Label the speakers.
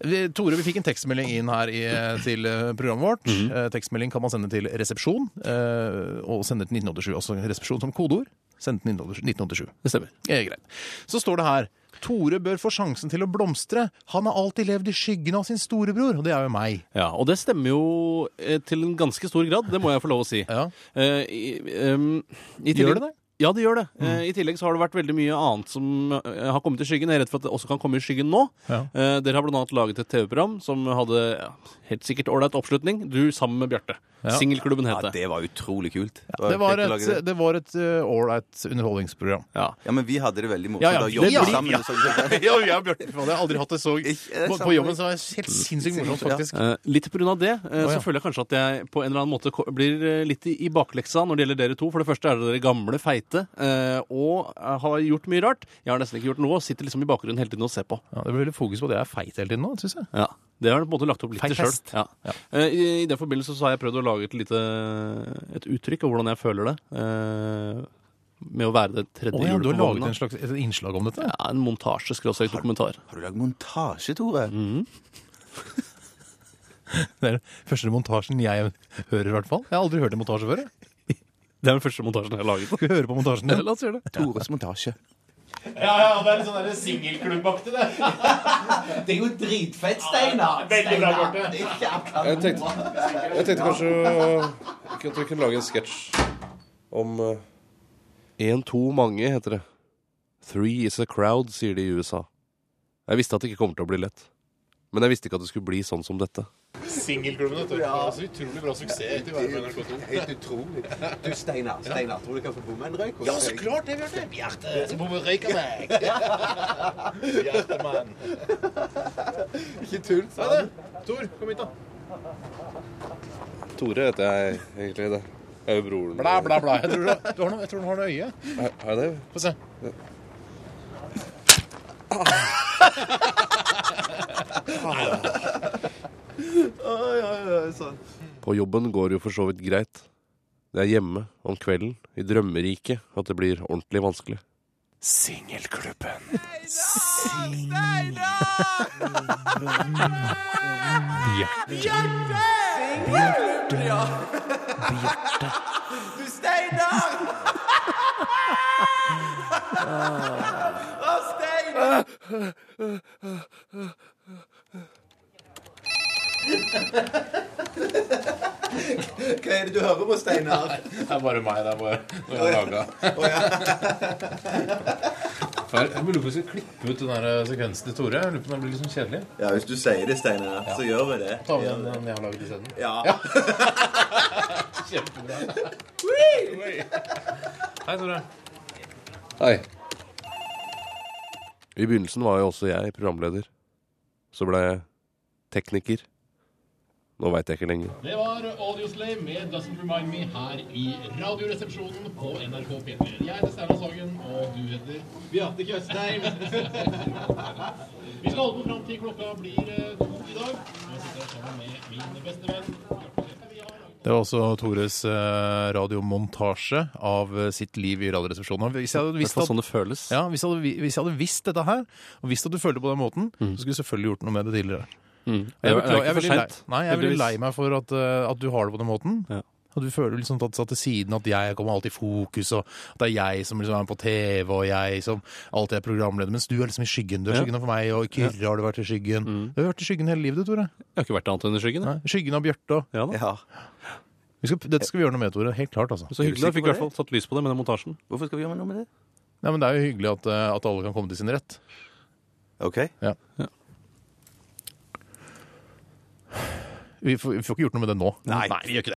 Speaker 1: Vi- Tore, vi fikk en tekstmelding inn her i, til eh, programmet vårt. Eh, tekstmelding kan man sende til resepsjon, eh, og sende til 1987. Også resepsjon som kodeord. Send til 1987.
Speaker 2: Det stemmer.
Speaker 1: Eh, greit. Så står det her Tore bør få sjansen til å blomstre. Han har alltid levd i skyggen av sin storebror, og det er jo meg.
Speaker 2: Ja, Og det stemmer jo eh, til en ganske stor grad, det må jeg få lov å si.
Speaker 1: Ja.
Speaker 2: Eh, i- em, i
Speaker 1: Gjør
Speaker 2: tillegg-
Speaker 1: det Mm. det?
Speaker 2: Ja, det gjør det. Eh, I tillegg så har det vært veldig mye annet som eh, har kommet i skyggen. Jeg er redd for at det også kan komme i skyggen nå.
Speaker 1: Ja.
Speaker 2: Eh, dere har blant annet laget et TV-program som hadde ja, helt sikkert ålreit oppslutning. Du sammen med Bjarte.
Speaker 1: Ja.
Speaker 2: Singelklubben het
Speaker 3: Ja,
Speaker 2: det.
Speaker 3: det var utrolig kult.
Speaker 1: Det var
Speaker 3: kjekt å lage
Speaker 1: et, det var et eh, ålreit underholdningsprogram.
Speaker 2: Ja.
Speaker 3: Ja, men vi hadde det veldig morsomt.
Speaker 1: Ja, ja,
Speaker 3: da
Speaker 1: det
Speaker 3: jobbet
Speaker 1: blir-
Speaker 3: sammen.
Speaker 1: ja.
Speaker 3: og sånn.
Speaker 1: Ja, jeg og Bjarte faen, jeg har aldri hatt det så
Speaker 3: Ikke- det er
Speaker 1: På, på
Speaker 3: samme-
Speaker 1: jobben så var det helt sinnssykt morsomt, faktisk.
Speaker 2: Eh, litt pga. det
Speaker 1: Å,
Speaker 2: eh,
Speaker 1: ja.
Speaker 2: så føler jeg kanskje at jeg på en eller annen måte ko- blir eh, litt i, i bakleksa når det gjelder dere to. For det første er dere gamle, feite eh, og eh, har gjort mye rart. Jeg har nesten ikke gjort noe og sitter liksom i bakgrunnen hele tiden og ser på.
Speaker 1: Ja, det blir veldig fokus på at jeg er feit hele tiden nå, syns jeg.
Speaker 2: Ja, Det har dere på en måte lagt opp litt
Speaker 1: Feil
Speaker 2: til sjøl.
Speaker 1: fest.
Speaker 2: Ja. Eh, I, I den forbindelse så har jeg prøvd å lage et lite et uttrykk av hvordan jeg føler det. eh, med å være det tredje
Speaker 1: Å ja,
Speaker 2: hjulet
Speaker 1: du har
Speaker 2: på
Speaker 1: laget
Speaker 2: vogna.
Speaker 1: en slags, et innslag om dette?
Speaker 2: Ja, en montasje, skråstrek dokumentar.
Speaker 3: Har du lagd montasje, Tore?
Speaker 1: Mm. Det er den første montasjen jeg hører, i hvert fall. Jeg har aldri hørt en montasje før. jeg.
Speaker 2: Det er den første montasjen jeg har laget.
Speaker 1: Skal vi høre på montasjen din?
Speaker 2: La oss gjøre det.
Speaker 3: Tores montasje.
Speaker 1: Ja, ja, det er litt sånn singelklubbaktig, det.
Speaker 4: Det er jo dritfett, Steinar.
Speaker 1: Veldig bra,
Speaker 4: Steinar,
Speaker 1: Bjarte.
Speaker 4: det er jævla
Speaker 5: Jeg tenkte, jeg tenkte kanskje uh, ikke at vi kunne lage en sketsj om uh,
Speaker 2: En, to, mange heter det. Three is a crowd, sier de i USA. Jeg visste at det ikke kommer til å bli lett. Men jeg visste ikke at det skulle bli sånn som dette.
Speaker 1: Singelklubben, vet du. Så altså, utrolig bra suksess etter å være på NRK2.
Speaker 4: Helt utrolig. Du, Steinar, Steinar, tror du kan få bomme en røyk hos deg?
Speaker 1: klart det, Bjarte. Bjarte, så må vi røyke meg. Hjertemann.
Speaker 4: Ikke tull. sant?
Speaker 1: Tor, kom hit, da.
Speaker 5: Tore heter jeg egentlig. Det er jo broren
Speaker 1: Bla, bla, bla. Jeg tror du, du har noe, jeg tror du har noe øye.
Speaker 5: Er, er det?
Speaker 1: Få se.
Speaker 4: Oi, oi, oi, sånn.
Speaker 2: På jobben går det jo for så vidt greit. Det er hjemme, om kvelden, i drømmeriket, at det blir ordentlig vanskelig.
Speaker 1: Singelklubben.
Speaker 4: Du, Steinar! Å, Steinar! Hva er det du hører på, Steinar?
Speaker 1: Det er bare meg. Det er bare noe jeg har laga. Jeg lurer på om vi skal klippe ut den der sekvensen til Tore. Jeg lurer på om den blir litt sånn kjedelig.
Speaker 4: Ja, hvis du sier det, Steinar, så gjør vi det.
Speaker 1: Ta med den den jeg har laget isteden.
Speaker 4: Ja.
Speaker 1: Hei, Tore.
Speaker 5: Hei.
Speaker 2: I begynnelsen var jo også jeg programleder. Så ble jeg tekniker. Nå veit jeg ikke lenger.
Speaker 6: Det var Audioslave med 'Doesn't Remind Me' her i Radioresepsjonen på NRK P3. Jeg heter Steinar Sagen, og du heter Bjarte Tjøstheim. Vi skal holde på fram til klokka blir eh, to i dag. Jeg sitter her sammen med min beste venn Bjarte Tjøstheim. Vi har
Speaker 1: Det var også Tores eh, radiomontasje av eh, sitt liv i Radioresepsjonen. Hvis jeg hadde
Speaker 2: Det
Speaker 1: visst
Speaker 2: er
Speaker 1: at,
Speaker 2: sånn det føles.
Speaker 1: ja, hvis jeg hadde, vi- hvis jeg hadde visst dette her, og visst at du følte på den måten, så skulle du selvfølgelig gjort noe med det tidligere.
Speaker 2: Det er
Speaker 1: Jeg,
Speaker 2: jo-
Speaker 1: beklager,
Speaker 2: det er
Speaker 1: jeg, blir
Speaker 2: ikke for
Speaker 1: lei,
Speaker 2: sent,
Speaker 1: nei, jeg blir
Speaker 2: heldigvis.
Speaker 1: lei meg for at, eh, at du har det på den måten.
Speaker 2: Ja.
Speaker 1: At du føler liksom tatt satt til siden at jeg kommer alltid i fokus, og at det er jeg som liksom er på TV, og jeg som alltid er programleder, mens du er liksom i skyggen. Du er
Speaker 2: Ja. Mm.
Speaker 1: skyggen for meg, og Kyrre har du vært i skyggen. Du har vært i skyggen hele livet, du, Tore.
Speaker 2: Jeg har ikke vært annet enn i skyggen. jeg.
Speaker 1: Nei, Skyggen av Bjarte. og-
Speaker 2: Ja, da.
Speaker 3: Ja.
Speaker 1: Vi skal- Dette skal vi gjøre noe med, Tore. Helt klart, altså.
Speaker 2: Så hyggelig.
Speaker 3: Er du
Speaker 2: Jeg fikk
Speaker 3: sikker
Speaker 2: i hvert fall satt lys på det med den montasjen.
Speaker 3: Hvorfor skal vi gjøre noe med det?
Speaker 1: Nei, men Det er jo hyggelig at, eh, at alle kan komme til sin rett.
Speaker 3: OK.
Speaker 1: Vi får, vi får ikke gjort noe med det nå.
Speaker 3: Nei.
Speaker 1: vi gjør ikke det.